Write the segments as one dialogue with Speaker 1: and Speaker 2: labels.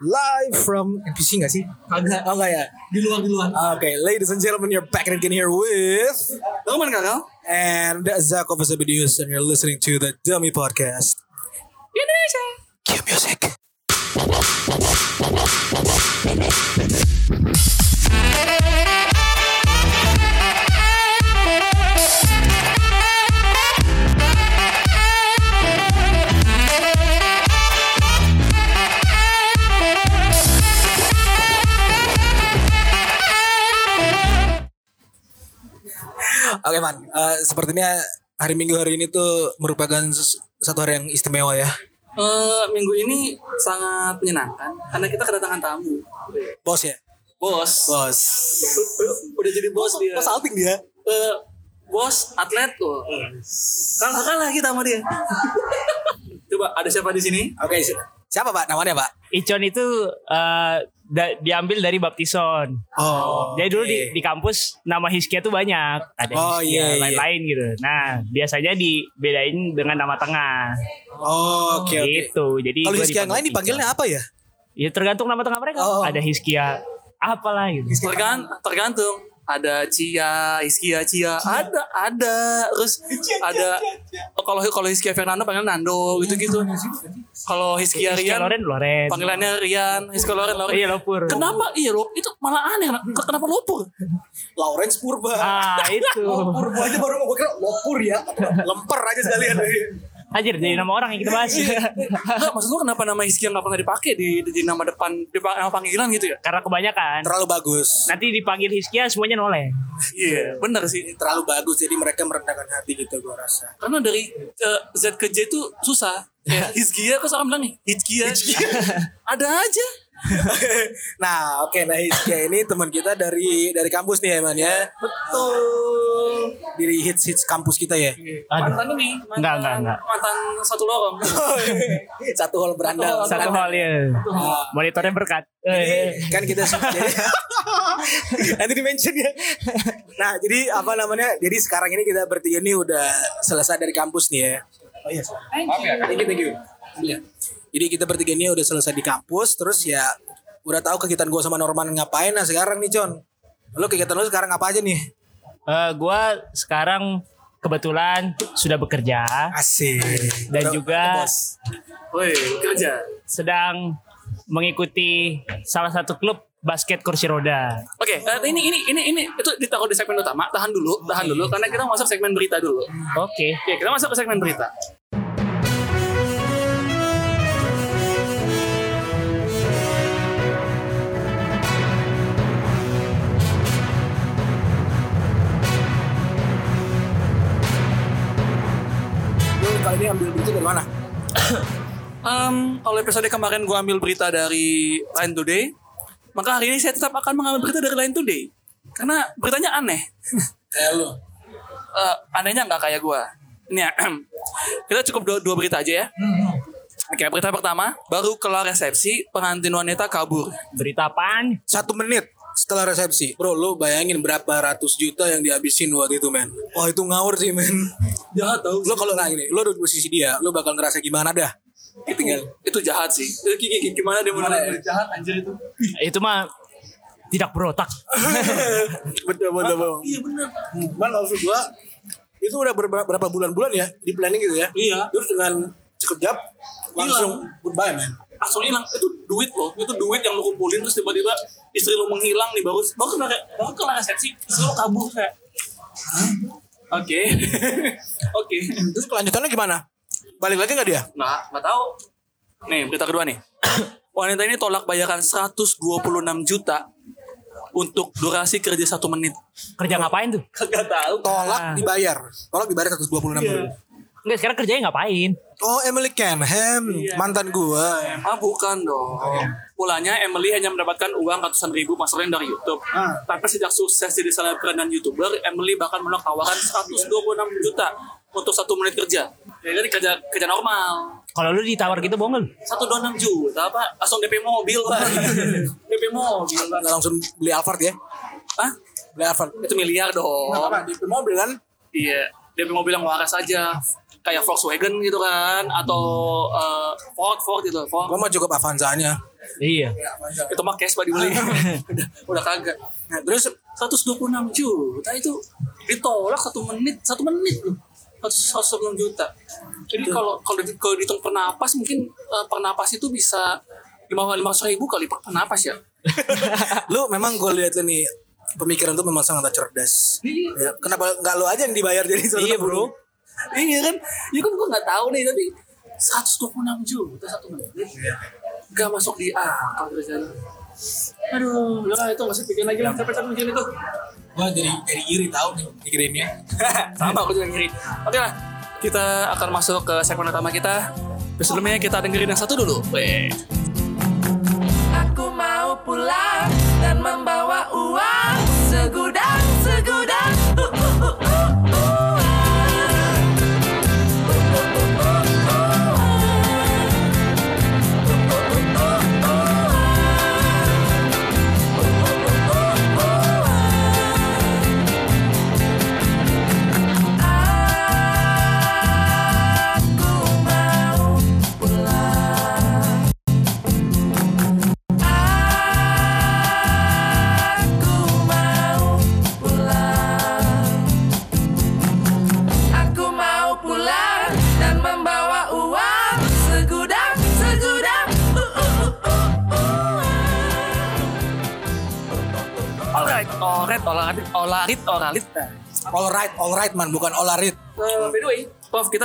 Speaker 1: live from NPC gak sih?
Speaker 2: Kagak.
Speaker 1: Oh enggak ya?
Speaker 2: Di luar di luar.
Speaker 1: Oke, ladies and gentlemen, you're back again here with
Speaker 2: Roman Kakak.
Speaker 1: and Zach of Videos, and you're listening to the Dummy Podcast.
Speaker 2: Indonesia.
Speaker 1: Cue music. Oke man, Eh, sepertinya hari Minggu hari ini tuh merupakan ses- satu hari yang istimewa ya.
Speaker 2: Eh minggu ini sangat menyenangkan karena kita kedatangan tamu.
Speaker 1: Bos ya,
Speaker 2: Bos.
Speaker 1: bos.
Speaker 2: Udah jadi bos dia.
Speaker 1: Bos outing dia.
Speaker 2: Eh, bos atlet tuh. Kalah kalah kita sama dia. Kan Coba ada siapa di sini?
Speaker 1: Oke, si- siapa pak? Namanya pak?
Speaker 3: Icon itu eh, da- diambil dari baptison.
Speaker 1: Oh.
Speaker 3: Jadi dulu
Speaker 1: oke.
Speaker 3: di, di kampus nama Hiskia tuh banyak, ada
Speaker 1: Oh, iya,
Speaker 3: Hiskia
Speaker 1: iya.
Speaker 3: lain-lain gitu. Nah biasanya dibedain dengan nama tengah
Speaker 1: Oh, Oke oke.
Speaker 3: gitu. Jadi
Speaker 1: Kalau
Speaker 3: gua
Speaker 1: Hizky yang
Speaker 3: dipanggil
Speaker 1: lain dipanggilnya apa ya?
Speaker 3: Icon. Ya tergantung nama tengah mereka.
Speaker 1: Oh.
Speaker 3: Ada Hiskia apalah gitu.
Speaker 2: Tergan tergantung. Ada Cia, Iskia, Cia, ada, ada, terus ada Oh, kalau kalau Hiskia Fernando panggil Nando gitu-gitu. Kalau Hiskia Rian
Speaker 3: Hiskia Loren Loren.
Speaker 2: panggilannya Rian, Hiskia Loren, Loren.
Speaker 3: Iya Lopur.
Speaker 2: Kenapa? Iya lo itu malah aneh. Ken- Kenapa lopur?
Speaker 1: Lawrence Purba.
Speaker 3: Ah itu.
Speaker 1: Purba aja baru mau gue kira lopur ya. Lemper aja sekalian.
Speaker 3: Anjir jadi nama orang yang kita bahas.
Speaker 1: Iya.
Speaker 2: Enggak, maksud lu kenapa nama Hizki yang gak pernah dipakai di, di, di nama depan di pa- nama panggilan gitu ya?
Speaker 3: Karena kebanyakan.
Speaker 1: Terlalu bagus.
Speaker 3: Nanti dipanggil Hiskia semuanya noleh.
Speaker 2: Iya, bener sih.
Speaker 1: Terlalu bagus jadi mereka merendahkan hati gitu gue rasa.
Speaker 2: Karena dari eh, Z ke J itu susah. Ya, Hizkia, kok orang bilang Hizkia. Ada aja.
Speaker 1: nah, oke nah Hizky ini teman kita dari dari kampus nih ya man ya. Betul. Dari hits hits kampus kita ya.
Speaker 3: Aduh.
Speaker 2: Mantan ini. Mantan,
Speaker 3: Enggak, enggak, enggak.
Speaker 2: Mantan satu lorong.
Speaker 1: iya. Satu hall berandal.
Speaker 3: Satu hal ya. Monitornya berkat. Eh.
Speaker 1: Ah. Jadi, kan kita suka jadi nanti di mention ya nah jadi apa namanya jadi sekarang ini kita bertiga ini udah selesai dari kampus nih ya oh iya thank you thank you Iya. jadi kita bertiga ini udah selesai di kampus terus ya udah tahu kegiatan gue sama Norman ngapain nah sekarang nih Con lo kegiatan lo sekarang apa aja nih
Speaker 3: Eh gua sekarang kebetulan sudah bekerja
Speaker 1: asik
Speaker 3: dan
Speaker 1: Udah-
Speaker 3: juga
Speaker 2: Woi, kerja.
Speaker 3: sedang mengikuti salah satu klub basket kursi roda.
Speaker 2: Oke, eh, ini ini ini ini itu ditaruh di segmen utama. Tahan dulu, tahan dulu karena kita masuk segmen berita dulu.
Speaker 3: Oke.
Speaker 2: Oke, kita masuk ke segmen berita.
Speaker 1: lo kali ini ambil berita dari mana
Speaker 2: Em, kalau episode kemarin gue ambil berita dari Line Today, maka hari ini saya tetap akan mengambil berita dari Line Today. Karena beritanya aneh.
Speaker 1: kayak lo
Speaker 2: Eh, anehnya nggak kayak gue. Ini ya, kita cukup dua, dua berita aja ya. Oke, berita pertama, baru kelar resepsi, pengantin wanita kabur.
Speaker 3: Berita apaan?
Speaker 1: satu menit setelah resepsi bro lo bayangin berapa ratus juta yang dihabisin waktu itu men wah itu ngawur sih men
Speaker 2: Jahat tau.
Speaker 1: lo kalau nggak gini lo duduk di posisi dia lo bakal ngerasa gimana dah
Speaker 2: Itu, itu jahat sih. Eh, Ki- ki- ki- Gimana dia mau jahat anjir itu?
Speaker 3: Itu mah tidak berotak.
Speaker 1: ya? betul betul betul
Speaker 2: Iya bener.
Speaker 1: cuman maksud gua itu udah berapa, berapa bulan-bulan ya di planning gitu ya
Speaker 2: Iya.
Speaker 1: terus dengan sekejap langsung goodbye men
Speaker 2: langsung hilang itu duit loh itu duit yang lu kumpulin terus tiba-tiba istri lu menghilang nih baru baru kena baru kena resepsi istri lu kabur kayak "Hah? oke oke
Speaker 1: terus kelanjutannya gimana balik lagi nggak dia
Speaker 2: nggak nggak tahu nih berita kedua nih wanita ini tolak bayaran 126 juta untuk durasi kerja satu menit
Speaker 3: Kerja ngapain tuh?
Speaker 2: kagak tahu
Speaker 3: Ah.
Speaker 1: tolak dibayar tolak dibayar 126
Speaker 3: Iya.
Speaker 1: ribu
Speaker 3: Enggak, sekarang kerjanya ngapain?
Speaker 1: oh Emily Canham
Speaker 3: Iya.
Speaker 1: mantan gua
Speaker 2: Ah bukan dong. Mulanya Emily hanya mendapatkan uang ratusan ribu masalahnya dari YouTube.
Speaker 1: Ah.
Speaker 2: Tapi sejak sukses jadi selebgram dan youtuber, Emily bahkan menolak tawaran 126 juta untuk satu menit kerja. Ya kan kerja kerja normal.
Speaker 3: Kalau lu ditawar gitu bohong lu.
Speaker 2: 126 juta apa? Langsung DP mobil pak. DP mobil
Speaker 1: nggak
Speaker 2: pak.
Speaker 1: Nah, langsung beli Alphard ya
Speaker 2: Hah?
Speaker 1: beli Alphard
Speaker 2: Itu miliar dong.
Speaker 1: di mobil kan
Speaker 2: Iya. DP mobil yang waras aja. kayak Volkswagen gitu kan atau eh, Ford Ford gitu Ford
Speaker 1: Gua mah cukup Avanza-nya.
Speaker 3: Iya.
Speaker 2: itu mah cash pak dibeli udah, udah kagak
Speaker 1: Nah, terus
Speaker 2: 126 juta Nah, itu ditolak satu menit satu menit loh 126 juta jadi kalau kalau di- kalau dihitung per napas mungkin eh, per napas itu bisa lima lima ribu kali per napas ya
Speaker 1: lu memang gue lihat lu nih pemikiran tuh memang sangat cerdas. Ya, kenapa nggak lu aja yang dibayar jadi
Speaker 3: Iya, bro.
Speaker 2: iya kan ya kan gue nggak tahu nih tapi 126 juta satu menit nggak masuk di akal kerjaan aduh udah lah, itu masih bikin lagi lah capek capek bikin itu
Speaker 1: Gua dari dari iri tahu nih pikirinnya.
Speaker 2: sama aku juga ngiri oke lah kita akan masuk ke segmen utama kita Tapi sebelumnya kita dengerin yang satu dulu Weh.
Speaker 4: Aku mau pulang dan membawa uang segudang segudang. Uh, uh, uh, uh, uang. Uh, uh, uh, uh, uang. Uh, uh, uh, uh, uang. Uh, uh, uh, uh, uang. Aku mau pulang. Aku mau pulang. Aku mau pulang dan membawa uang segudang segudang. Uh, uh, uh, uh, uang.
Speaker 2: alright alright olarit olarit olarit nah,
Speaker 1: All right, all right man, bukan all right.
Speaker 2: Eh, by the way Prof kita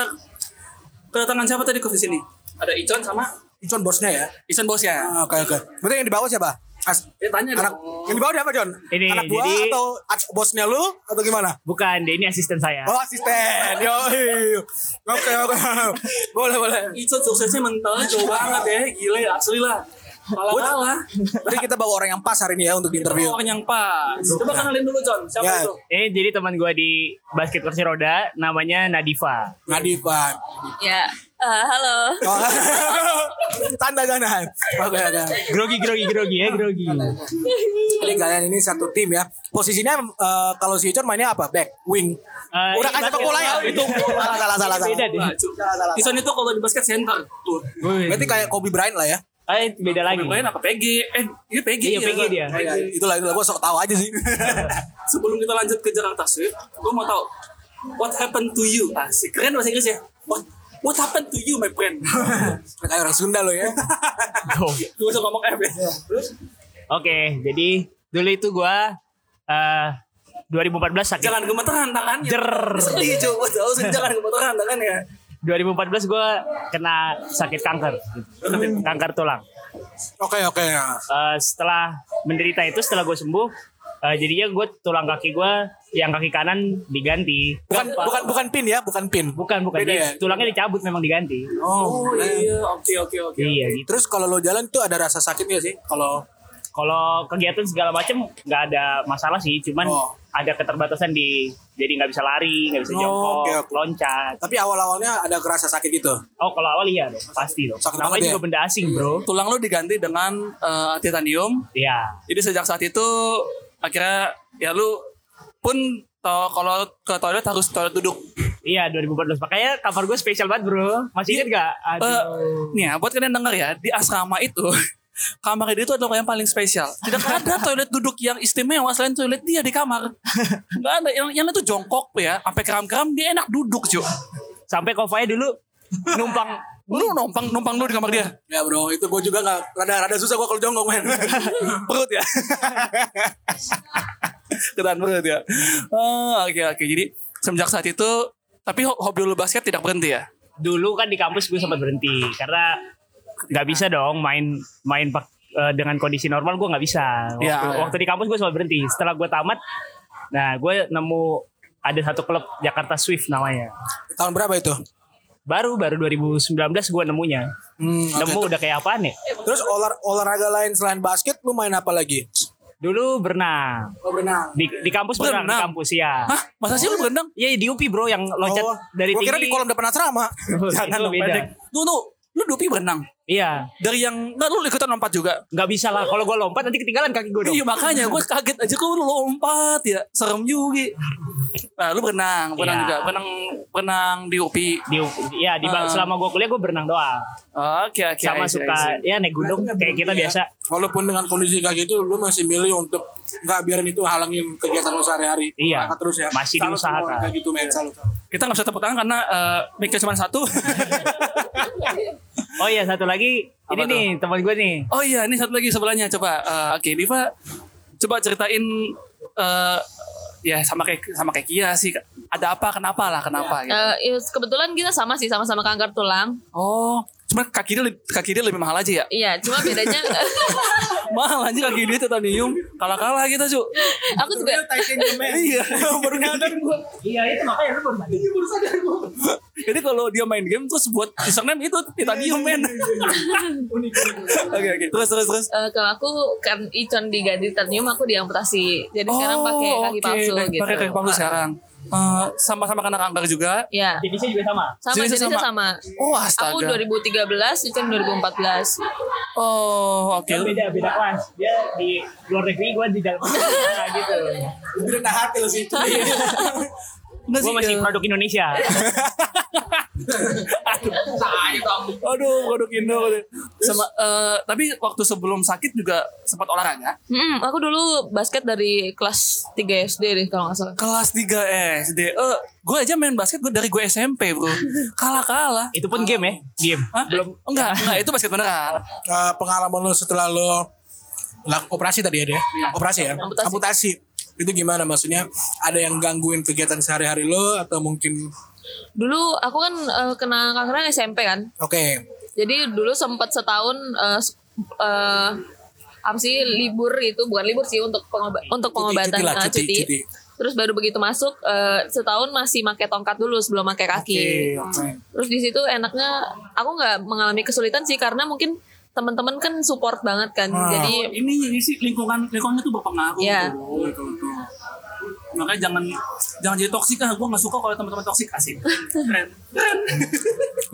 Speaker 2: kedatangan siapa tadi ke sini ada Icon sama
Speaker 1: Icon bosnya ya.
Speaker 2: Icon bos ya
Speaker 1: Ah, Oke oke. Berarti yang di bawah siapa? As
Speaker 2: ya tanya
Speaker 1: anak
Speaker 2: dong
Speaker 1: yang di bawah siapa John?
Speaker 3: Ini,
Speaker 1: anak buah
Speaker 3: jadi-
Speaker 1: atau ac- bosnya lu atau gimana?
Speaker 3: Bukan, dia ini asisten saya.
Speaker 1: Oh asisten, yo Oke oke, boleh boleh.
Speaker 2: Icon suksesnya mentalnya jauh banget ya gila ya asli lah malah malah
Speaker 1: Berarti kita bawa orang yang pas hari ini ya untuk diinterview.
Speaker 2: orang yang pas coba kenalin dulu John siapa
Speaker 1: Ya.
Speaker 2: itu
Speaker 3: Eh, jadi teman gua di basket kursi roda namanya Nadifa.
Speaker 1: Nadifa.
Speaker 5: Ya, eh, halo.
Speaker 1: Oh, tanda ganan. Oke oke.
Speaker 3: Grogi, grogi, grogi ya, grogi.
Speaker 1: Jadi kalian ini satu tim ya. Posisinya eh, kalau si Icon mainnya apa? Back, wing.
Speaker 3: Eh,
Speaker 1: Udah kan
Speaker 3: ini
Speaker 1: sepak
Speaker 3: basket.
Speaker 1: bola ya itu. Salah salah salah.
Speaker 3: Ini beda
Speaker 1: salah.
Speaker 3: deh.
Speaker 2: Nah, cu- Icon itu kalau di basket center tuh
Speaker 3: Wih.
Speaker 1: Berarti kayak Kobe Bryant lah ya.
Speaker 3: Eh, beda lagi.
Speaker 2: Pemain apa PG? Eh, dia PG.
Speaker 3: Iya,
Speaker 2: ya,
Speaker 3: PG
Speaker 2: kan?
Speaker 3: dia.
Speaker 1: Ya, itulah itulah gue sok tahu aja sih.
Speaker 2: Sebelum kita lanjut ke Jakarta Swift, gue mau tahu what happened to you? Asik. Keren bahasa Inggris ya. What What happened to you, my friend?
Speaker 1: kayak orang Sunda lo ya.
Speaker 2: Gue usah ngomong F ya. Terus,
Speaker 3: Oke, jadi dulu itu gua eh 2014 sakit.
Speaker 2: jangan gemeteran tangannya.
Speaker 3: Jer.
Speaker 2: Sedih, cuy. Gue tahu sih, jangan gemeteran ya. tangannya.
Speaker 3: 2014 gua kena sakit kanker. Kanker tulang.
Speaker 1: Oke oke. ya.
Speaker 3: Eh, setelah menderita itu setelah gue sembuh eh, jadinya gue tulang kaki gue yang kaki kanan diganti
Speaker 1: Bukan bukan bukan pin ya, bukan pin.
Speaker 3: bukan bukan
Speaker 1: Beda
Speaker 3: dia
Speaker 1: ya?
Speaker 3: tulangnya dicabut memang diganti
Speaker 2: Oh, iya. Oke, oke, oke.
Speaker 3: iya gitu
Speaker 1: Terus kalau lo jalan tuh ada rasa sakit gak sih? Kalau
Speaker 3: kalau kegiatan segala macam nggak ada masalah sih cuman
Speaker 1: Oh.
Speaker 3: ada keterbatasan di jadi nggak bisa lari nggak bisa
Speaker 1: Oh,
Speaker 3: jongkok
Speaker 1: oke, oke.
Speaker 3: loncat
Speaker 1: tapi awal-awalnya ada kerasa sakit gitu.
Speaker 3: oh kalau awal iya dong, pasti dong
Speaker 1: Sakit
Speaker 3: namanya
Speaker 1: banget
Speaker 3: juga
Speaker 1: ya?
Speaker 3: benda asing bro
Speaker 2: Tulang lo diganti dengan eh, titanium.
Speaker 3: iya
Speaker 2: Jadi sejak saat itu, akhirnya ya lu pun tau kalau ke toilet harus toilet duduk.
Speaker 3: iya 2014 makanya cover gue spesial banget bro masih inget gak aduh
Speaker 2: Eh, nih ya, buat kalian denger ya, di asrama itu kamar dia itu adalah yang paling spesial. Tidak ada toilet duduk yang istimewa selain toilet dia di kamar. Enggak ada yang, yang itu jongkok ya, sampai keram-keram dia enak duduk, cuy.
Speaker 3: sampai kofanya dulu numpang
Speaker 2: Lu numpang numpang lu di kamar dia.
Speaker 1: Ya bro, itu gue juga gak, rada, rada susah gue kalau jongkok men.
Speaker 2: Perut ya. Ketan perut ya. Oh, oke oke. Jadi semenjak saat itu tapi ho- hobi lu basket tidak berhenti ya.
Speaker 3: dulu kan di kampus gue sempat berhenti karena nggak bisa dong main main pak- eh, dengan kondisi normal gue nggak bisa waktu,
Speaker 2: Iya, iya.
Speaker 3: waktu di kampus gue sempat berhenti setelah gue tamat nah gue nemu ada satu klub Jakarta Swift namanya
Speaker 1: Tahun berapa itu?
Speaker 3: baru baru 2019 gue nemunya
Speaker 1: Hmm, oke.
Speaker 3: nemu udah kayak apaan ya
Speaker 1: Terus olah, olahraga lain selain basket, lu main apa lagi?
Speaker 3: dulu berenang
Speaker 1: Oh berenang.
Speaker 3: di, di kampus berenang, di
Speaker 2: Berenang?
Speaker 3: kampus ya
Speaker 2: Hah? Masa sih lu berenang?
Speaker 3: Iya di UPI bro yang loncat
Speaker 1: Oh,
Speaker 3: dari
Speaker 1: gua
Speaker 3: tinggi
Speaker 1: kira di kolam depan asrama.
Speaker 3: Itu
Speaker 1: Jangan dong,
Speaker 3: beda.
Speaker 1: pendek.
Speaker 2: Tuh tuh, lu lu Dupi berenang
Speaker 3: Iya,
Speaker 2: dari yang nggak lu ikutan lompat juga
Speaker 3: nggak bisa lah. Kalau gue lompat nanti ketinggalan kaki gue dong.
Speaker 2: Iya makanya gue kaget aja kok lu lompat ya serem juga. Nah lu berenang, berenang
Speaker 3: Iya.
Speaker 2: juga, berenang berenang di UPI.
Speaker 3: Di, ya di
Speaker 2: Ah.
Speaker 3: bang,
Speaker 2: Iya,
Speaker 3: selama gue kuliah gue berenang doang.
Speaker 2: Oke oke. oke,
Speaker 3: Sama suka
Speaker 2: oke.
Speaker 3: ya naik gunung kayak kita
Speaker 2: ya.
Speaker 3: biasa.
Speaker 1: Walaupun dengan kondisi kayak gitu, lu masih milih untuk nggak biarin itu halangin kegiatan lu sehari-hari.
Speaker 3: Iya.
Speaker 1: Angkat terus ya.
Speaker 3: Masih
Speaker 1: Salut semua,
Speaker 3: diusahakan.
Speaker 1: Kayak gitu men, salut.
Speaker 2: Kita nggak bisa tepuk tangan karena eh bengkel cuma satu.
Speaker 3: Oh iya satu lagi ini
Speaker 2: Apa tuh?
Speaker 3: nih teman gue nih.
Speaker 2: oh iya ini satu lagi sebelahnya coba. Eh, oke Diva, coba ceritain eh ya sama kayak sama kayak Kia sih. Ada apa? Kenapa lah? Kenapa? gitu.
Speaker 5: Eh, ya, kebetulan kita sama sih, sama-sama kanker tulang.
Speaker 2: Oh, cuma kaki dia le- kaki dia lebih mahal aja ya.
Speaker 5: Iya, cuma bedanya
Speaker 2: mahal aja kaki dia titanium. Kalah-kalah kita, Cuk.
Speaker 5: aku juga
Speaker 2: Iya, baru nyadar gua.
Speaker 3: Iya itu makanya lu baru
Speaker 2: Jadi kalau dia main game terus buat username itu Titanium men. Oke oke. Terus terus terus.
Speaker 5: eh, kalau aku kan Icon diganti titanium, aku diamputasi. Jadi sekarang
Speaker 2: Oh,
Speaker 5: pakai kaki
Speaker 2: oke.
Speaker 5: palsu
Speaker 2: Kayak-
Speaker 5: gitu.
Speaker 2: Pakai kaki palsu sekarang. Eh, sama-sama kena kanker juga.
Speaker 5: Iya.
Speaker 3: Jenisnya juga sama.
Speaker 5: Sama
Speaker 2: Jenisnya
Speaker 5: jenisnya
Speaker 2: sama.
Speaker 5: sama.
Speaker 2: Oh, astaga.
Speaker 5: Aku 2013, Icon 2014.
Speaker 2: Oh, oke.
Speaker 3: Dia beda beda kelas. Dia di luar negeri gue di dalam negeri gitu.
Speaker 1: Lebih rendah hati lu sih.
Speaker 2: Nggak
Speaker 3: Gue masih
Speaker 2: eh,
Speaker 3: produk Indonesia.
Speaker 2: Aduh, produk Indo. Sama eh, tapi waktu sebelum sakit juga sempat olahraga.
Speaker 5: Mm-mm, aku dulu basket dari kelas 3 SD deh kalau nggak salah.
Speaker 2: Kelas 3 SD. Eh, gue aja main basket gue dari gue SMP, Bro. Kalah-kalah.
Speaker 3: itu pun game ya, game.
Speaker 2: Hah? Belum enggak, enggak itu basket beneran.
Speaker 1: Eh, pengalaman lu setelah lu lak- operasi tadi ya dia? Operasi ya?
Speaker 5: Amputasi.
Speaker 1: Amputasi. Itu gimana maksudnya? Ada yang gangguin kegiatan sehari-hari lu atau mungkin
Speaker 5: Dulu aku kan eh, kena kankernya SMP kan.
Speaker 1: oke.
Speaker 5: Jadi dulu sempat setahun eh s- eh, apa sih libur gitu, bukan libur sih untuk pengoba- untuk pengobatan
Speaker 1: cuti lah,
Speaker 5: eh,
Speaker 1: cuti, cuti.
Speaker 5: Terus baru begitu masuk eh, setahun masih pakai tongkat dulu sebelum pakai kaki.
Speaker 1: oke.
Speaker 5: Terus di situ enaknya aku nggak mengalami kesulitan sih karena mungkin teman-teman kan support banget kan.
Speaker 1: Ah.
Speaker 5: Jadi
Speaker 2: ini ini sih lingkungan lingkungannya tuh berpengaruh
Speaker 5: Iya.
Speaker 2: tuh. Betul, betul. makanya jangan jangan jadi toksik ah gue nggak suka kalau teman-teman toksik asik keren keren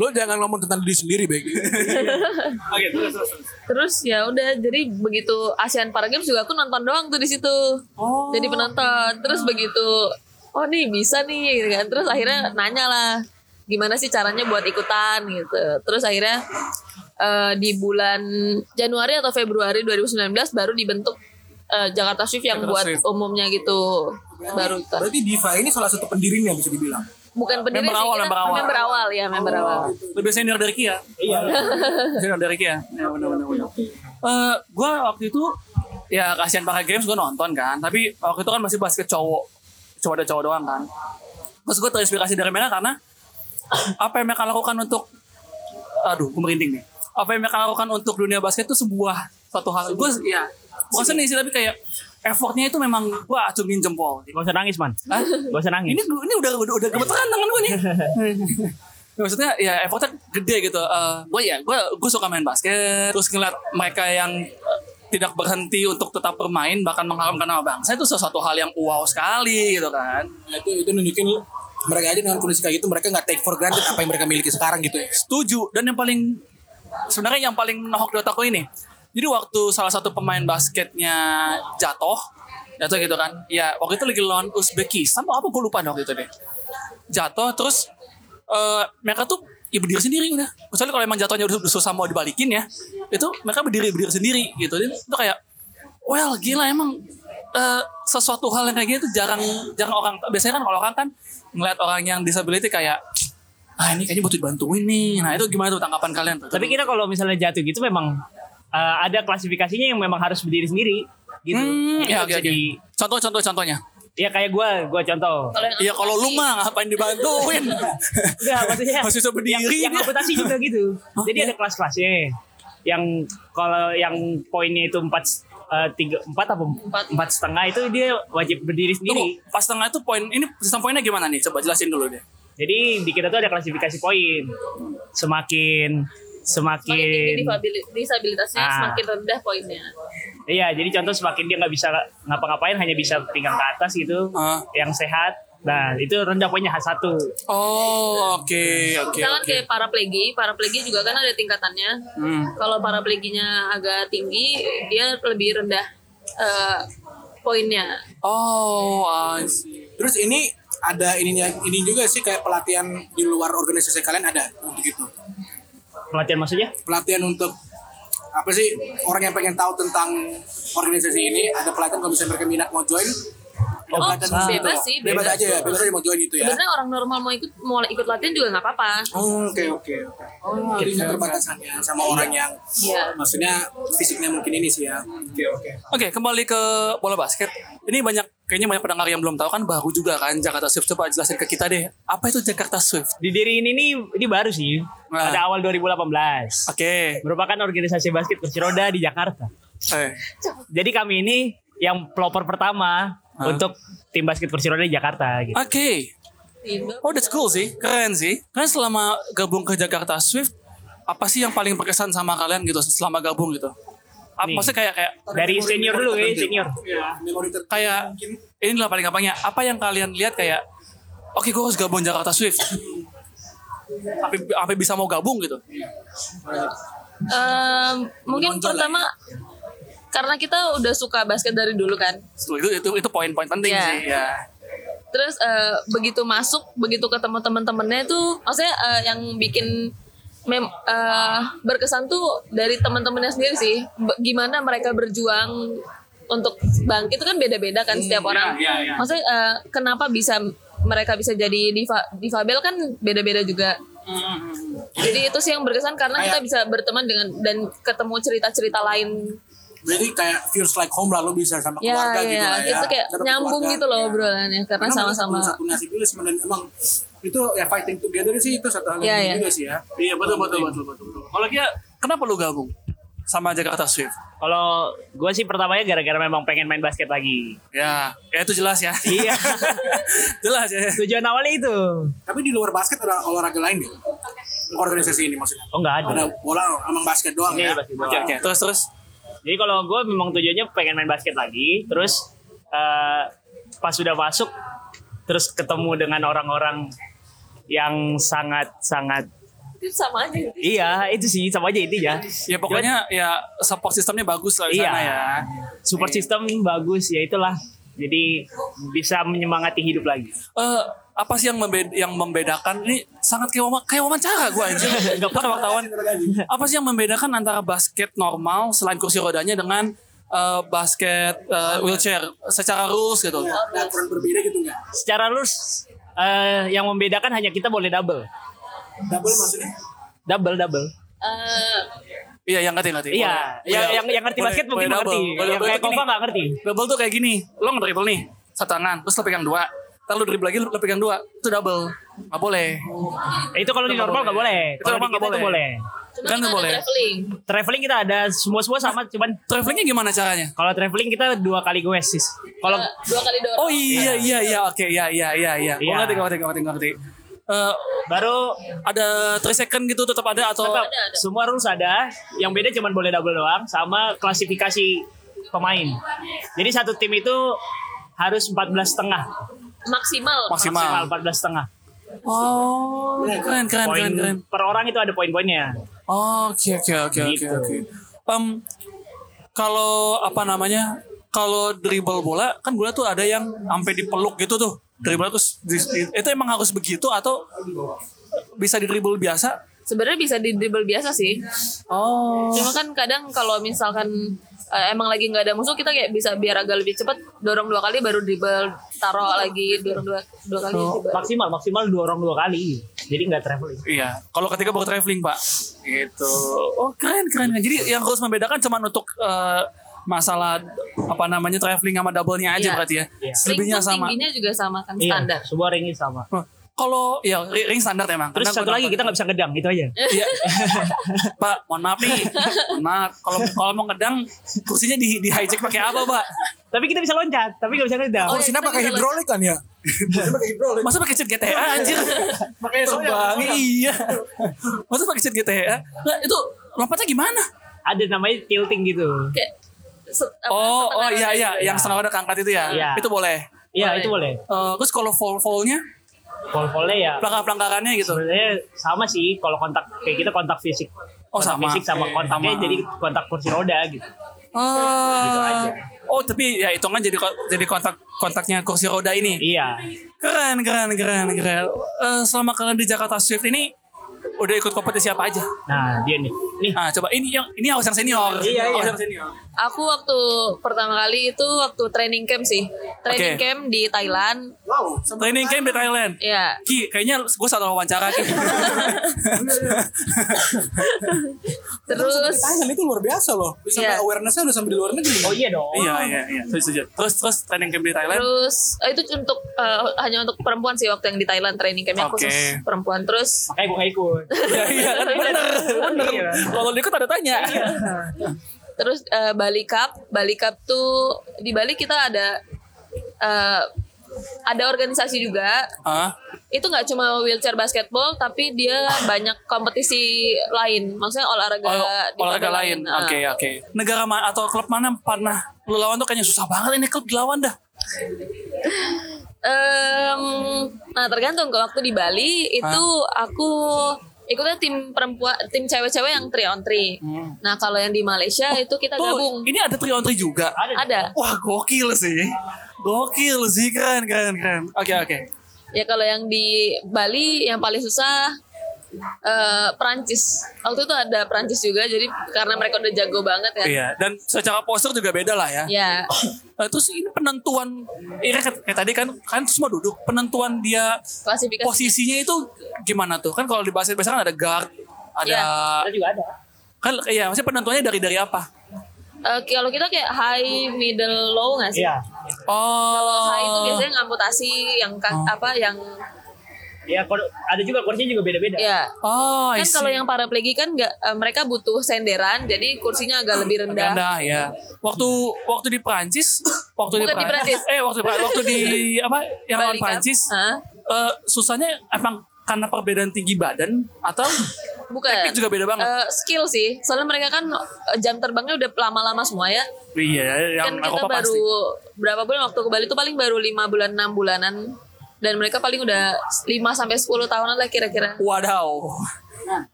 Speaker 1: Lu jangan ngomong tentang diri sendiri baik.
Speaker 2: oke terus terus terus.
Speaker 5: Terus ya udah jadi begitu ASEAN Para Games juga aku nonton doang tuh di situ.
Speaker 2: Oh.
Speaker 5: Jadi penonton. Terus begitu oh nih bisa nih gitu kan. Terus akhirnya nanya lah gimana sih caranya buat ikutan gitu. Terus akhirnya eh, di bulan Januari atau Februari 2019 baru dibentuk eh, Jakarta Swift yang buat umumnya gitu baru ikutan.
Speaker 1: Berarti Diva ini salah satu pendirinya bisa dibilang.
Speaker 5: Bukan pendiri
Speaker 2: Member
Speaker 5: sih,
Speaker 2: awal,
Speaker 5: kita
Speaker 2: member awal. Oh.
Speaker 5: member awal ya member awal.
Speaker 2: lebih senior dari Kia iya senior dari Kia ya benar benar benar Eh, gue waktu itu ya kasihan pakai games gue nonton kan tapi waktu itu kan masih basket cowok cuma ada cowok doang kan terus gue terinspirasi dari Mela karena apa yang mereka lakukan untuk aduh gue merinding nih apa yang mereka lakukan untuk dunia basket itu sebuah suatu hal gue ya bukan seni sih tapi kayak effortnya itu memang gue acungin jempol
Speaker 3: Gak usah nangis man.
Speaker 2: Hah?
Speaker 3: Gak usah nangis.
Speaker 2: ini ini udah udah, udah gemeteran tangan gue nih Ya, maksudnya ya effortnya gede gitu Eh, gue ya gue gue suka main basket terus ngeliat mereka yang eh, tidak berhenti untuk tetap bermain bahkan mengharumkan nama bangsa itu sesuatu hal yang wow sekali gitu kan
Speaker 1: Nah, itu itu nunjukin mereka aja dengan kondisi kayak gitu mereka nggak take for granted apa yang mereka miliki sekarang gitu ya.
Speaker 2: setuju dan yang paling sebenarnya yang paling nohok di otak gue ini jadi waktu salah satu pemain basketnya jatuh jatuh gitu kan ya waktu itu lagi lawan Uzbekistan atau apa gue lupa deh waktu itu deh jatuh terus eh, mereka tuh ya berdiri sendiri udah kecuali kalau emang jatuhnya udah susah mau dibalikin ya itu mereka berdiri berdiri sendiri gitu Jadi itu kayak well gila emang eh, sesuatu hal yang kayak gitu jarang jarang orang biasanya kan kalau orang kan ngeliat orang yang disability kayak ah ini kayaknya butuh dibantuin nih nah itu gimana tuh tanggapan kalian tuh
Speaker 3: Tapi kita kalau misalnya jatuh gitu memang eh, ada klasifikasinya yang memang harus berdiri sendiri gitu.
Speaker 2: Hmm,
Speaker 3: Jadi
Speaker 2: ya,
Speaker 3: nggak
Speaker 2: oke,
Speaker 3: bisa
Speaker 2: oke.
Speaker 3: di-
Speaker 2: Contoh, contoh, contohnya.
Speaker 3: ya kayak gue, gue contoh.
Speaker 5: Kalau yang
Speaker 2: Iya kalau lu
Speaker 5: amputasi-
Speaker 2: mah ngapain dibantuin?
Speaker 3: Enggak, maksudnya
Speaker 2: Masih bisa berdiri
Speaker 3: Yang, yang
Speaker 2: dia.
Speaker 3: amputasi juga gitu. Jadi ada kelas-kelasnya. Yang kalau yang poinnya itu empat eh, tiga empat apa empat, empat setengah itu dia wajib berdiri
Speaker 2: Tunggu,
Speaker 3: sendiri.
Speaker 2: pas tengah itu poin ini sistem poinnya gimana nih? Coba jelasin dulu deh.
Speaker 3: Jadi di kita tuh ada klasifikasi poin. Semakin
Speaker 5: Semakin
Speaker 3: semakin
Speaker 5: tinggi difabili- disabilitasnya
Speaker 3: Ah.
Speaker 5: semakin rendah poinnya.
Speaker 3: Iya, jadi contoh semakin dia nggak bisa ngapa-ngapain, hanya bisa pinggang ke atas gitu,
Speaker 2: Ah.
Speaker 3: yang sehat. Nah, itu rendah poinnya H1.
Speaker 2: Oh, oke, oke,
Speaker 5: Misalkan
Speaker 2: oke.
Speaker 5: kayak paraplegi, paraplegi juga kan ada tingkatannya. Kalau parapleginya agak tinggi, dia lebih rendah eh, poinnya.
Speaker 2: Oh, I see.
Speaker 1: Terus ini ada ininya ini juga sih kayak pelatihan di luar organisasi kalian ada untuk itu.
Speaker 3: Pelatihan maksudnya?
Speaker 1: Pelatihan untuk apa sih orang yang pengen tahu tentang organisasi ini ada pelatihan kalau misalnya mereka minat mau join ada
Speaker 5: Oh,
Speaker 1: pelatihan
Speaker 5: bebas
Speaker 1: gitu.
Speaker 5: sih,
Speaker 1: bebas,
Speaker 5: bebas.
Speaker 1: aja ya bebas aja mau join itu ya
Speaker 5: Sebenarnya orang normal mau ikut mau ikut latihan juga nggak apa-apa. Gitu.
Speaker 1: Oh, oke oke oke oh jadi nggak keterbatasannya sama orang yang
Speaker 5: Iya.
Speaker 1: maksudnya fisiknya mungkin ini sih ya oke oke
Speaker 2: Oke, kembali ke bola basket. Ini banyak kayaknya banyak pendengar yang belum tahu kan baru juga kan Jakarta Swift. Coba jelasin ke kita deh. Apa itu Jakarta Swift?
Speaker 3: Di diri ini nih, ini baru sih.
Speaker 2: Nah.
Speaker 3: Pada awal 2018.
Speaker 2: Oke.
Speaker 3: Merupakan organisasi basket kursi roda di Jakarta.
Speaker 2: Eh.
Speaker 3: Jadi kami ini yang pelopor pertama
Speaker 2: Ah.
Speaker 3: untuk tim basket kursi roda di Jakarta gitu.
Speaker 2: Oke. Oh, that's cool sih. Keren sih. Kalian selama gabung ke Jakarta Swift, apa sih yang paling berkesan sama kalian gitu selama gabung gitu? Apa
Speaker 3: Nih.
Speaker 2: maksudnya kayak kayak
Speaker 3: Dari senior dulu ya, senior.
Speaker 1: memori ter
Speaker 2: kayak inilah paling gampangnya. Apa yang kalian lihat kayak oke gue harus gabung Jakarta Swift. Sampai, sampai bisa mau gabung gitu.
Speaker 5: Em, mungkin pertama karena kita udah suka basket dari dulu kan.
Speaker 2: Itu itu itu poin-poin penting
Speaker 5: Iya.
Speaker 2: sih ya.
Speaker 5: Terus eh, begitu masuk, begitu ketemu teman-temannya tuh, maksudnya eh, yang bikin mem eh, berkesan tuh dari teman-temannya sendiri sih. Be- gimana mereka berjuang untuk bangkit itu kan beda-beda
Speaker 1: Hmm,
Speaker 5: kan setiap
Speaker 1: iya,
Speaker 5: orang. Maksudnya eh, kenapa bisa mereka bisa jadi difa difabel kan beda-beda juga.
Speaker 1: Hmm.
Speaker 5: Jadi itu sih yang berkesan karena kita bisa berteman dengan dan ketemu cerita-cerita lain.
Speaker 1: berarti kayak feels like home lah lo bisa sama
Speaker 5: Ya,
Speaker 1: keluarga gitu
Speaker 5: ya,
Speaker 1: lah ya
Speaker 5: kita kayak
Speaker 1: Sama
Speaker 5: nyambung
Speaker 1: keluarga,
Speaker 5: gitu loh
Speaker 1: ya.
Speaker 5: obrolannya karena
Speaker 1: mereka
Speaker 5: sama-sama.
Speaker 1: satu nasib juga sebenarnya emang itu ya fighting together sih itu satu hal
Speaker 5: Iya,
Speaker 1: yang
Speaker 5: iya.
Speaker 1: juga sih ya
Speaker 2: Iya betul betul betul betul. betul. Kalau dia kenapa lu gabung sama Jakarta Swift?
Speaker 3: Kalau gue sih pertamanya gara-gara memang pengen main basket lagi.
Speaker 2: Ya, ya itu jelas ya.
Speaker 3: Iya.
Speaker 2: jelas ya.
Speaker 3: Tujuan awalnya itu.
Speaker 1: tapi di luar basket ada olahraga lain gitu organisasi ini maksudnya
Speaker 3: Oh nggak
Speaker 1: ada
Speaker 3: ada.
Speaker 1: bola emang basket doang
Speaker 3: Ini
Speaker 1: ya
Speaker 3: basket doang.
Speaker 2: Oke oke. Terus terus.
Speaker 3: Jadi kalau gue memang tujuannya pengen main basket lagi, terus eh, pas sudah masuk, terus ketemu dengan orang-orang yang sangat-sangat
Speaker 5: Itu sama aja.
Speaker 3: iya itu sih sama aja intinya.
Speaker 2: Ya pokoknya ya support sistemnya bagus lah di
Speaker 3: Iya.
Speaker 2: sana ya.
Speaker 3: Support system bagus ya itulah. Jadi bisa menyemangati hidup lagi.
Speaker 2: Eh apa sih yang membed yang membedakan ini sangat kayak wama- kayak wawancara gue anjir nggak pernah wartawan apa sih yang membedakan antara basket normal selain kursi rodanya dengan eh, basket eh, wheelchair secara rules gitu
Speaker 1: ada aturan berbeda gitu nggak
Speaker 3: Secara lurus eh, yang membedakan hanya kita boleh double,
Speaker 1: double maksudnya
Speaker 5: Oh,
Speaker 3: double double.
Speaker 5: Eh,
Speaker 2: iya yang ngerti ngerti
Speaker 3: Iya,
Speaker 2: Boleh.
Speaker 3: yang,
Speaker 2: Boleh-
Speaker 3: yang yang ngerti
Speaker 2: boleh-
Speaker 3: basket mungkin
Speaker 2: boleh
Speaker 3: ngerti.
Speaker 2: double. Boleh
Speaker 3: Yang
Speaker 2: double
Speaker 3: kayak
Speaker 2: tuh
Speaker 3: Kova
Speaker 2: gini.
Speaker 3: nggak ngerti.
Speaker 2: Double tuh kayak gini, lo ngedribble nih, satu tangan, terus lo pegang dua. Ntar lo dribble lagi, lo lo pegang dua, itu double. Gak boleh.
Speaker 3: Eh, Itu kalau
Speaker 2: Itu
Speaker 3: di
Speaker 2: nggak
Speaker 3: normal nggak boleh.
Speaker 2: boleh. Itu
Speaker 3: Kalau di
Speaker 2: normal nggak
Speaker 3: kita itu
Speaker 2: boleh.
Speaker 3: boleh.
Speaker 2: Kan
Speaker 5: cuma kita
Speaker 2: nggak
Speaker 5: ada
Speaker 2: boleh.
Speaker 5: traveling.
Speaker 3: Traveling kita ada semua-semua sama, cuman
Speaker 2: Travelingnya gimana caranya?
Speaker 3: Kalau traveling kita dua kali gue sis. Kalau
Speaker 5: Eh, dua kali dorong.
Speaker 2: Oh iya, iya, iya, oke, iya, iya, iya, iya. Gue
Speaker 3: Iya.
Speaker 2: ngerti, gue ngerti, gue ngerti, gue ngerti. Eh,
Speaker 3: baru
Speaker 2: ada 3 second gitu tetap ada atau
Speaker 3: tetap semua rules ada, yang beda cuman boleh double doang sama klasifikasi pemain. Jadi satu tim itu harus 14 setengah.
Speaker 5: maksimal.
Speaker 2: maksimal?
Speaker 3: 14 setengah.
Speaker 2: Oh, keren, keren,
Speaker 3: Poin
Speaker 2: keren, keren.
Speaker 3: per orang itu ada poin-poinnya.
Speaker 2: Oh, Oke, oke, oke, oke,
Speaker 3: Gitu.
Speaker 2: oke. Em, kalau apa namanya? Kalau dribble bola kan bola tuh ada yang sampai dipeluk gitu tuh. Dribble terus di- di- itu emang harus begitu atau bisa di dribble biasa?
Speaker 5: Sebenarnya bisa di dribble biasa sih.
Speaker 2: Oh.
Speaker 5: Cuma kan kadang kalau misalkan eh, emang lagi nggak ada musuh kita kayak bisa biar agak lebih cepat dorong dua kali baru dribble taruh lagi dorong dua dua kali
Speaker 2: Oh.
Speaker 5: dribble.
Speaker 3: Maksimal maksimal dua orang dua kali. Jadi nggak traveling.
Speaker 2: Iya, kalau ketika baru traveling, Pak. Gitu. Oh, keren, keren. Jadi yang harus membedakan cuma untuk eh, masalah apa namanya traveling sama double-nya aja
Speaker 5: Iya.
Speaker 2: berarti ya.
Speaker 3: Iya.
Speaker 5: Ring
Speaker 2: Selebihnya
Speaker 5: pun
Speaker 2: sama.
Speaker 5: Tingginya juga sama kan standar.
Speaker 3: Iya, semua ringnya sama.
Speaker 2: Wah, Kalau ya ring ring standar emang.
Speaker 3: Terus
Speaker 2: Karena
Speaker 3: satu
Speaker 2: gua
Speaker 3: lagi
Speaker 2: nonton-
Speaker 3: kita nggak bisa ngedang gitu aja.
Speaker 2: Iya. Pak, mohon maaf nih. Mohon maaf. Kalau kalau mau ngedang kursinya di di hijack pakai apa, Pak?
Speaker 3: Tapi kita bisa loncat, tapi nggak bisa ngedang.
Speaker 1: oh
Speaker 5: iya,
Speaker 1: sini
Speaker 5: kita
Speaker 1: pakai
Speaker 5: bisa
Speaker 1: hidrolik kan ya Maksudnya pakai hidrolik
Speaker 2: Masa pakai cheat GTA anjir? pakai
Speaker 3: ya,
Speaker 2: terbang. oh, Iya. Masa pakai cheat GTA?
Speaker 5: Nah,
Speaker 2: Lah, itu lompatnya gimana?
Speaker 3: Ada namanya tilting gitu.
Speaker 5: Kayak se- apa,
Speaker 2: Oh,
Speaker 5: setengah
Speaker 2: oh
Speaker 5: orang
Speaker 2: iya iya,
Speaker 5: gitu.
Speaker 2: yang setengah udah keangkat itu ya.
Speaker 3: Iya.
Speaker 2: Itu boleh.
Speaker 3: Iya itu boleh.
Speaker 2: Eh, terus kalau fall fallnya
Speaker 3: Pol-polnya ya
Speaker 2: pelanggar pelanggarannya gitu
Speaker 3: sebenarnya sama sih kalau kontak kayak kita kontak fisik.
Speaker 2: Oh,
Speaker 3: Kontak
Speaker 2: sama.
Speaker 3: Fisik sama
Speaker 2: Oke,
Speaker 3: kontaknya
Speaker 2: sama.
Speaker 3: jadi kontak kursi roda gitu.
Speaker 2: Ah. oh tapi ya hitungan jadi ko- jadi kontak kontaknya kursi roda ini
Speaker 3: Iya.
Speaker 2: keren keren keren keren Eh, selama kalian di Jakarta Swift ini udah ikut kompetisi apa aja
Speaker 3: Nah dia nih. Nih Oh,
Speaker 2: ah coba ini yang ini harus yang senior
Speaker 1: Iya, iya.
Speaker 2: Harus yang senior
Speaker 5: Aku waktu pertama kali itu waktu training camp sih.
Speaker 2: Oke.
Speaker 5: Training camp di Thailand.
Speaker 1: Wow,
Speaker 2: training camp di Thailand
Speaker 5: Ya.
Speaker 2: Ki, kayaknya gue salah wawancara Ki.
Speaker 5: Terus
Speaker 1: Thailand Nah, itu luar biasa loh. Sampai
Speaker 5: Iya.
Speaker 1: awarenessnya udah sampai di luar negeri.
Speaker 3: oh iya dong.
Speaker 2: iya, iya, iya. Setuju, setuju. Terus, terus training camp di Thailand.
Speaker 5: terus eh, itu untuk eh, hanya untuk perempuan sih waktu yang di Thailand training campnya
Speaker 2: Oke.
Speaker 5: khusus perempuan. Terus
Speaker 3: Makanya gue gak ikut.
Speaker 2: Iya, iya, kan bener, bener.
Speaker 3: Iya.
Speaker 2: Kalau lu ikut ada tanya.
Speaker 5: terus eh, Bali Cup, Bali Cup tuh di Bali kita ada eh, ada organisasi juga
Speaker 2: Hah?
Speaker 5: itu nggak cuma wheelchair basketball tapi dia banyak kompetisi lain maksudnya olahraga
Speaker 2: Oh,
Speaker 5: di
Speaker 2: olahraga
Speaker 5: kota
Speaker 2: lain.
Speaker 5: Nah,
Speaker 2: Oke, ya. oke. Negara mana atau klub mana yang pernah lu lawan tuh kayaknya susah banget ini klub dilawan dah.
Speaker 5: em, nah tergantung kalau waktu di Bali itu aku ikutnya tim perempuan tim cewek-cewek yang 3 on 3 nah kalau yang di Malaysia itu kita
Speaker 2: Hmm. Oh, Tuh,
Speaker 5: gabung
Speaker 2: ini ada tri on tri juga.
Speaker 5: ada
Speaker 2: Wah, gokil sih. Gokil sih, keren, keren, keren. Oke, oke.
Speaker 5: ya kalau yang di Bali yang paling susah eh, Perancis waktu itu ada Perancis juga jadi karena mereka udah jago banget ya
Speaker 2: Iya, dan secara postur juga beda lah ya.
Speaker 5: ya
Speaker 2: Eh, terus ini penentuan, ini kayak, kayak tadi kan, kan semua duduk. Penentuan dia
Speaker 5: klasifikasi
Speaker 2: posisinya itu gimana tuh? Kan kalau di basket biasanya kan ada guard, ada
Speaker 5: Iya,
Speaker 3: Ada juga ada.
Speaker 2: kan iya maksudnya penentuannya dari dari apa?
Speaker 5: Eh, kalau kita kayak high middle low nggak sih
Speaker 3: Iya.
Speaker 2: Oh.
Speaker 5: Nah, itu biasanya ngamputasi yang ka- apa yang
Speaker 3: Iya kalau- ada juga kursinya juga beda-beda.
Speaker 5: ya.
Speaker 2: Oh, I
Speaker 5: Kan
Speaker 2: see.
Speaker 5: kalau yang paraplegi kan nggak eh, mereka butuh senderan, jadi kursinya agak lebih rendah.
Speaker 2: Ganda ya. Waktu waktu di Prancis, waktu
Speaker 5: Bukan di Prancis.
Speaker 2: eh waktu di Pra- waktu di apa yang lawan
Speaker 5: Bali Cup.
Speaker 2: Prancis,
Speaker 5: Hah?
Speaker 2: eh, susahnya emang karena perbedaan tinggi badan atau
Speaker 5: Bukan.
Speaker 2: Teknik juga beda banget.
Speaker 5: Eh, skill sih. Soalnya mereka kan eh, jam terbangnya udah lama-lama semua ya.
Speaker 2: iya yang
Speaker 5: kan kita
Speaker 2: Eropa
Speaker 5: baru
Speaker 2: pasti.
Speaker 5: berapa bulan waktu ke Bali itu paling baru 5 bulan 6 bulanan dan mereka paling udah 5 sampai 10 tahunan lah kira-kira.
Speaker 2: Wadaw.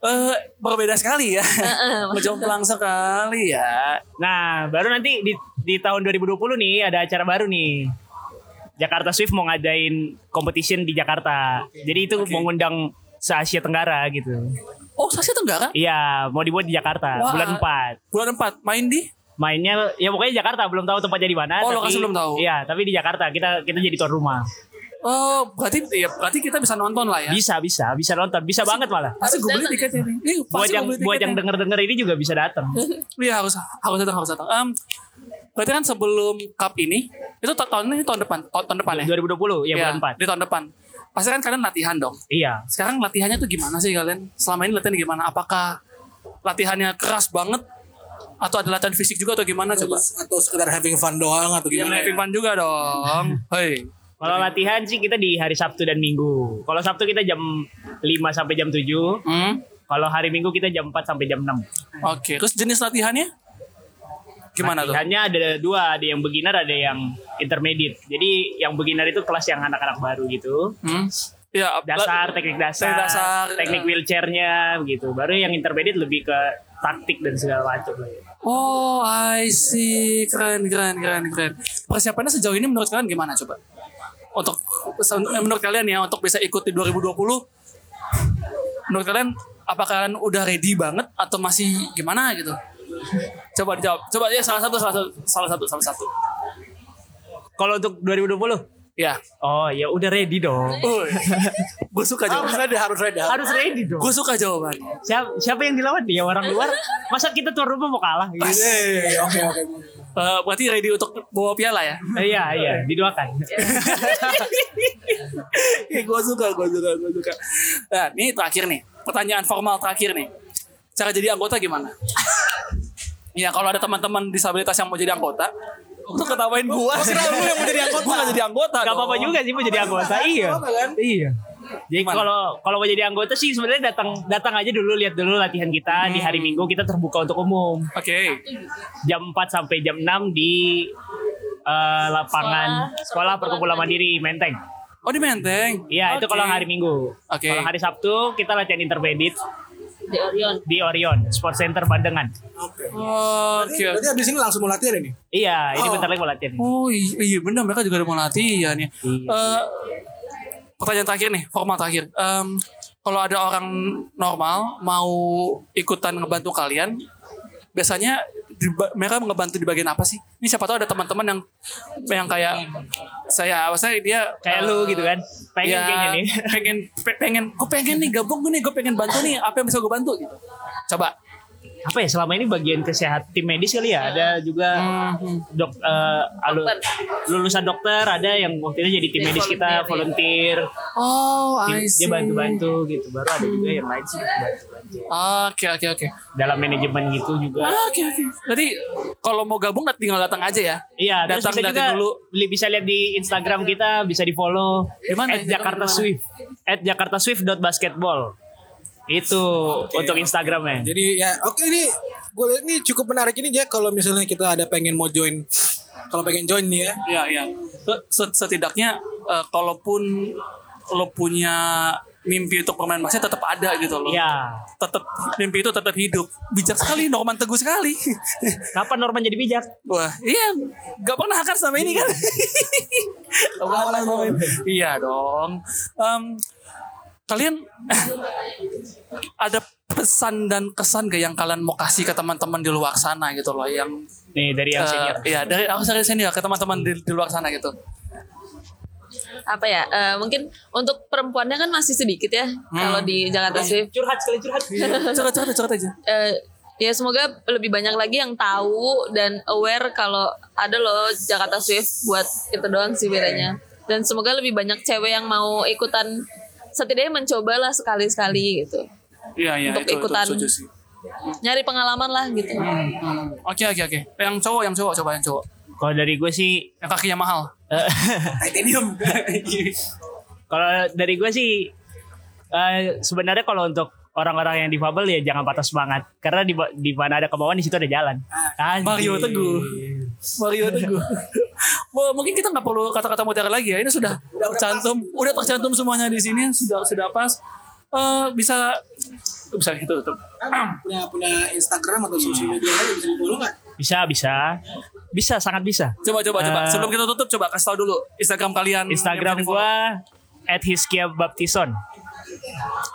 Speaker 2: Eh berbeda sekali ya.
Speaker 5: Eh, Heeh.
Speaker 2: Menjomplang sekali ya.
Speaker 3: Nah, baru nanti di, di tahun 2020 nih ada acara baru nih. Jakarta Swift mau ngadain competition di Jakarta. Jadi itu mengundang se-Asia Tenggara gitu.
Speaker 2: Oh, Asia Tenggara?
Speaker 3: Iya, mau dibuat di Jakarta
Speaker 2: Wah.
Speaker 3: bulan 4.
Speaker 2: Bulan 4 main di
Speaker 3: Mainnya ya pokoknya Jakarta, belum tahu tempatnya di mana
Speaker 2: Oh,
Speaker 3: tapi-
Speaker 2: lokasi belum tahu.
Speaker 3: Iya, tapi di Jakarta kita kita jadi tuan rumah.
Speaker 2: Oh, berarti ya berarti kita bisa nonton lah ya.
Speaker 5: Iya.
Speaker 3: Bisa, bisa, bisa nonton, bisa banget malah.
Speaker 2: Pasti gue beli tiketnya nih. Nih,
Speaker 3: Buat
Speaker 2: pasti
Speaker 3: yang
Speaker 2: gue beli
Speaker 3: buat yang
Speaker 2: tiketnya.
Speaker 3: denger-denger ini juga bisa datang.
Speaker 2: Iya harus harus datang harus datang. Em, berarti kan sebelum cup ini itu ta- tahun ini tahun depan tahun, tahun depan ya.
Speaker 3: 2020
Speaker 2: Iya,
Speaker 3: ya, bulan 4.
Speaker 2: Di tahun depan. Pasti kan kalian latihan dong.
Speaker 3: Iya.
Speaker 2: Sekarang latihannya tuh gimana sih kalian? Selama ini latihan gimana? Apakah latihannya keras banget atau ada latihan fisik juga atau gimana coba?
Speaker 1: Atau sekedar having fun doang atau
Speaker 2: Yang
Speaker 1: gimana?
Speaker 2: Iya, having fun juga dong. Hei.
Speaker 3: Kalau latihan sih kita di hari Sabtu dan Minggu. Kalau Sabtu kita jam 5 sampai jam 7.
Speaker 2: Hmm?
Speaker 3: Kalau hari Minggu kita jam 4 sampai jam 6.
Speaker 2: Oke. Terus jenis latihannya? Gimana tuh?
Speaker 3: Latihannya ada dua, ada yang beginner, ada yang intermediate. Jadi yang beginner itu kelas yang anak-anak baru gitu.
Speaker 2: Hmm? Ya, ap-
Speaker 3: Dasar, teknik dasar, ya.
Speaker 2: Teknik dasar.
Speaker 3: teknik wheelchairnya gitu. Baru yang intermediate lebih ke taktik dan segala macam lah ya.
Speaker 2: Oh, I see. Keren, keren, keren, keren. Persiapannya sejauh ini menurut kalian gimana coba? Untuk menurut kalian ya, untuk bisa ikut di 2020, menurut kalian apakah kalian udah ready banget atau masih gimana gitu? Coba dijawab. Coba ya salah satu, salah satu, salah satu, salah satu.
Speaker 3: Kalau untuk 2020?
Speaker 2: Ya.
Speaker 3: Oh ya udah ready dong.
Speaker 2: Uy. Gue suka
Speaker 1: Harus
Speaker 2: jawaban.
Speaker 1: ada, harus ada.
Speaker 3: Harus ready dong.
Speaker 2: Gue suka jawabannya.
Speaker 3: Siapa, siapa yang dilawan dia orang luar? Masa kita tuan rumah mau kalah? Gitu.
Speaker 1: Eh, Oke, oke.
Speaker 2: Eh, berarti ready untuk bawa piala ya?
Speaker 3: Iya iya didoakan.
Speaker 2: gue suka, gue suka, gue suka. Nah, ini terakhir nih. Pertanyaan formal terakhir nih. Cara jadi anggota gimana? ya, kalau ada teman-teman disabilitas yang mau jadi anggota, untuk ketawain gue.
Speaker 1: Oh, kira lu yang mau jadi anggota.
Speaker 2: Gue gak jadi anggota.
Speaker 3: Gak apa-apa
Speaker 2: dong.
Speaker 3: juga sih mau jadi anggota. Iya. Iya. Jadi
Speaker 2: Gimana?
Speaker 3: kalau kalau mau jadi anggota sih sebenarnya datang datang aja dulu lihat dulu latihan kita di hari Minggu kita terbuka untuk umum.
Speaker 2: Oke.
Speaker 3: Jam 4 sampai jam 6 di eh, lapangan
Speaker 5: Sekolah-
Speaker 3: sekolah perkumpulan mandiri Menteng.
Speaker 2: Oh di Menteng.
Speaker 3: Iya, itu
Speaker 2: Oke.
Speaker 3: kalau hari Minggu.
Speaker 2: Oke.
Speaker 3: Kalau hari Sabtu kita latihan interbedit
Speaker 5: di Orion.
Speaker 3: di Orion Sport Center Bandengan.
Speaker 1: Oke.
Speaker 2: Oke.
Speaker 1: Berarti abis ini langsung mau latihan ini.
Speaker 3: Iya, ini bentar lagi mau latihan.
Speaker 2: Oh iya, iya benar mereka juga ada mau latihan
Speaker 3: Iya.
Speaker 2: ya. Eh, pertanyaan terakhir nih, formal terakhir. Em, kalau ada orang normal mau ikutan ngebantu kalian, biasanya di ba- mereka ngebantu di bagian apa sih? Ini siapa tahu ada teman-teman yang yang kayak saya, saya dia
Speaker 3: Kayak
Speaker 2: eh,
Speaker 3: lu gitu kan. Pengen
Speaker 2: ya,
Speaker 3: kayaknya nih.
Speaker 2: pengen pe- pengen gue pengen nih gabung gue nih gue pengen bantu nih apa yang bisa gue bantu gitu coba
Speaker 3: Apa ya selama ini bagian kesehatan tim medis kali ya? Ada juga dok eh, alu-
Speaker 5: Dokter.
Speaker 3: lulusan dokter, ada yang waktu itu jadi tim
Speaker 5: Jadi
Speaker 3: medis kita volunteer.
Speaker 2: oh I
Speaker 3: Dia
Speaker 2: see
Speaker 3: bantu-bantu gitu. Baru ada juga yang lain sih bantu-bantu.
Speaker 2: oke oke oke
Speaker 3: Dalam manajemen gitu juga.
Speaker 2: Ah, oke oke jadi kalau mau gabung tinggal datang aja ya
Speaker 3: Iya, terus
Speaker 2: datang
Speaker 3: bisa
Speaker 2: datang
Speaker 3: juga
Speaker 2: dulu
Speaker 3: li- bisa lihat di Instagram kita, bisa di follow
Speaker 2: Di mana?
Speaker 3: at Jakarta
Speaker 2: Di mana?
Speaker 3: Swift at Jakarta Swift basketball itu untuk Instagramnya.
Speaker 1: Jadi ya oke ini gue lihat ini cukup menarik ini ya kalau misalnya kita ada pengen mau join kalau pengen join nih ya
Speaker 2: ya ya Se- setidaknya eh, kalaupun lo punya mimpi untuk bermain basket tetap ada gitu loh
Speaker 3: Iya.
Speaker 2: tetap mimpi itu tetap hidup bijak sekali Norman teguh sekali
Speaker 3: Kapan Norman jadi bijak?
Speaker 2: Wah, iya, gak pernah kan selama ini kan? Gak pernah selama ini. Iya dong. Em, kalian ada pesan dan kesan gak yang kalian mau kasih ke teman-teman di luar sana gitu loh yang
Speaker 3: Nih dari yang
Speaker 2: eh,
Speaker 3: senior.
Speaker 2: Iya, dari aku dari senior ke teman-teman di, di luar sana gitu.
Speaker 5: Apa ya? eh, mungkin untuk perempuannya kan masih sedikit ya
Speaker 2: Hmm.
Speaker 5: kalau di Jakarta Swift.
Speaker 3: Curhat sekali curhat.
Speaker 2: Iya. Cerita-cerita cerita aja.
Speaker 5: Eh, ya semoga lebih banyak lagi yang tahu dan aware kalau ada loh Jakarta Swift buat itu doang sih bedanya. Dan semoga lebih banyak cewek yang mau ikutan setidaknya mencobalah sekali-sekali gitu.
Speaker 2: Iya, iya,
Speaker 5: Untuk
Speaker 2: itu, itu
Speaker 5: ikutan.
Speaker 2: setuju sih.
Speaker 5: Nyari pengalaman lah gitu.
Speaker 2: Hmm, Oke, oke, oke. Yang cowok, yang cowok, coba yang cowok.
Speaker 3: Kalau dari gue sih,
Speaker 2: Yang kakinya mahal.
Speaker 3: eh,
Speaker 1: titanium
Speaker 3: kalau dari gue sih eh, sebenarnya kalau untuk orang-orang yang difabel ya jangan patah semangat karena di, di mana ada kemauan di situ ada jalan. Anjir.
Speaker 2: Mario Teguh. Mario Teguh. Wah, mungkin kita nggak perlu kata-kata mutiara lagi ya. Ini sudah tercantum, udah tercantum semuanya di sini, sudah sudah pas. Eh, bisa bisa gitu tutup.
Speaker 1: punya punya Instagram atau sosial media lain bisa di follow nggak?
Speaker 3: Bisa bisa bisa sangat bisa.
Speaker 2: Coba coba coba.
Speaker 3: Eh.
Speaker 2: Sebelum kita tutup coba kasih tahu dulu Instagram kalian. Hmm, yang
Speaker 3: Instagram
Speaker 2: bisa
Speaker 3: gua at Hiskia Baptison.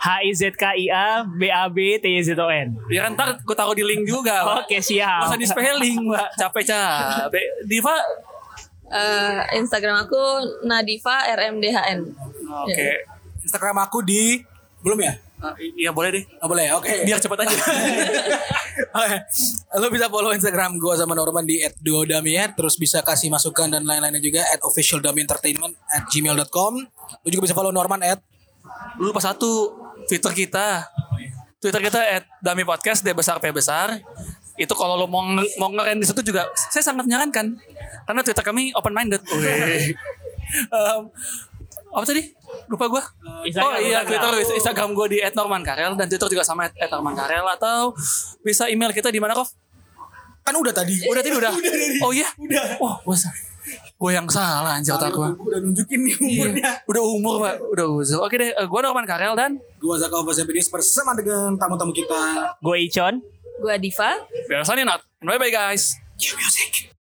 Speaker 3: H I Z K I A B A B T Y Z O N.
Speaker 2: di-follow. Ya kan ntar gue taruh di link juga. Pak.
Speaker 3: Oke siap.
Speaker 2: Masa di spelling, Mbak. Capek capek. Diva.
Speaker 5: Eh, Instagram aku Nadiva RMDHN.
Speaker 2: Oh, Oke.
Speaker 1: Instagram aku di belum ya?
Speaker 2: Eh, Iya boleh deh.
Speaker 1: Oh, boleh, oke.
Speaker 2: Biar cepet aja.
Speaker 1: Oke. Lo bisa follow Instagram gue sama Norman di @duodami ya. Terus bisa kasih masukan dan lain-lainnya juga at @officialdamientertainment at gmail.com. Lo juga bisa follow Norman at
Speaker 2: Lu lupa satu Twitter kita. Twitter kita at Dami Podcast D besar P besar. Itu kalau lo mau nge- mau ngeren di situ juga saya sangat menyarankan. Karena Twitter kami open minded. Em, apa tadi? Lupa gua. oh
Speaker 3: Instagram,
Speaker 2: iya,
Speaker 3: Instagram.
Speaker 2: Twitter Instagram gua di @normankarel dan Twitter juga sama @normankarel atau bisa email kita di mana, Kof?
Speaker 1: kan udah tadi.
Speaker 2: Udah tadi udah. Oh iya. Udah. Wah, gua sa- gua yang salah anjir otak gua.
Speaker 1: Udah nunjukin nih umurnya.
Speaker 2: Udah umur, Pak. Udah uzur. Oke deh, eh, gua Norman Karel dan
Speaker 1: Gue Zaka Ovas bersama dengan tamu-tamu kita.
Speaker 3: Gue Icon.
Speaker 5: Gua Diva.
Speaker 2: Biasanya not. Bye bye guys.
Speaker 1: Cue music.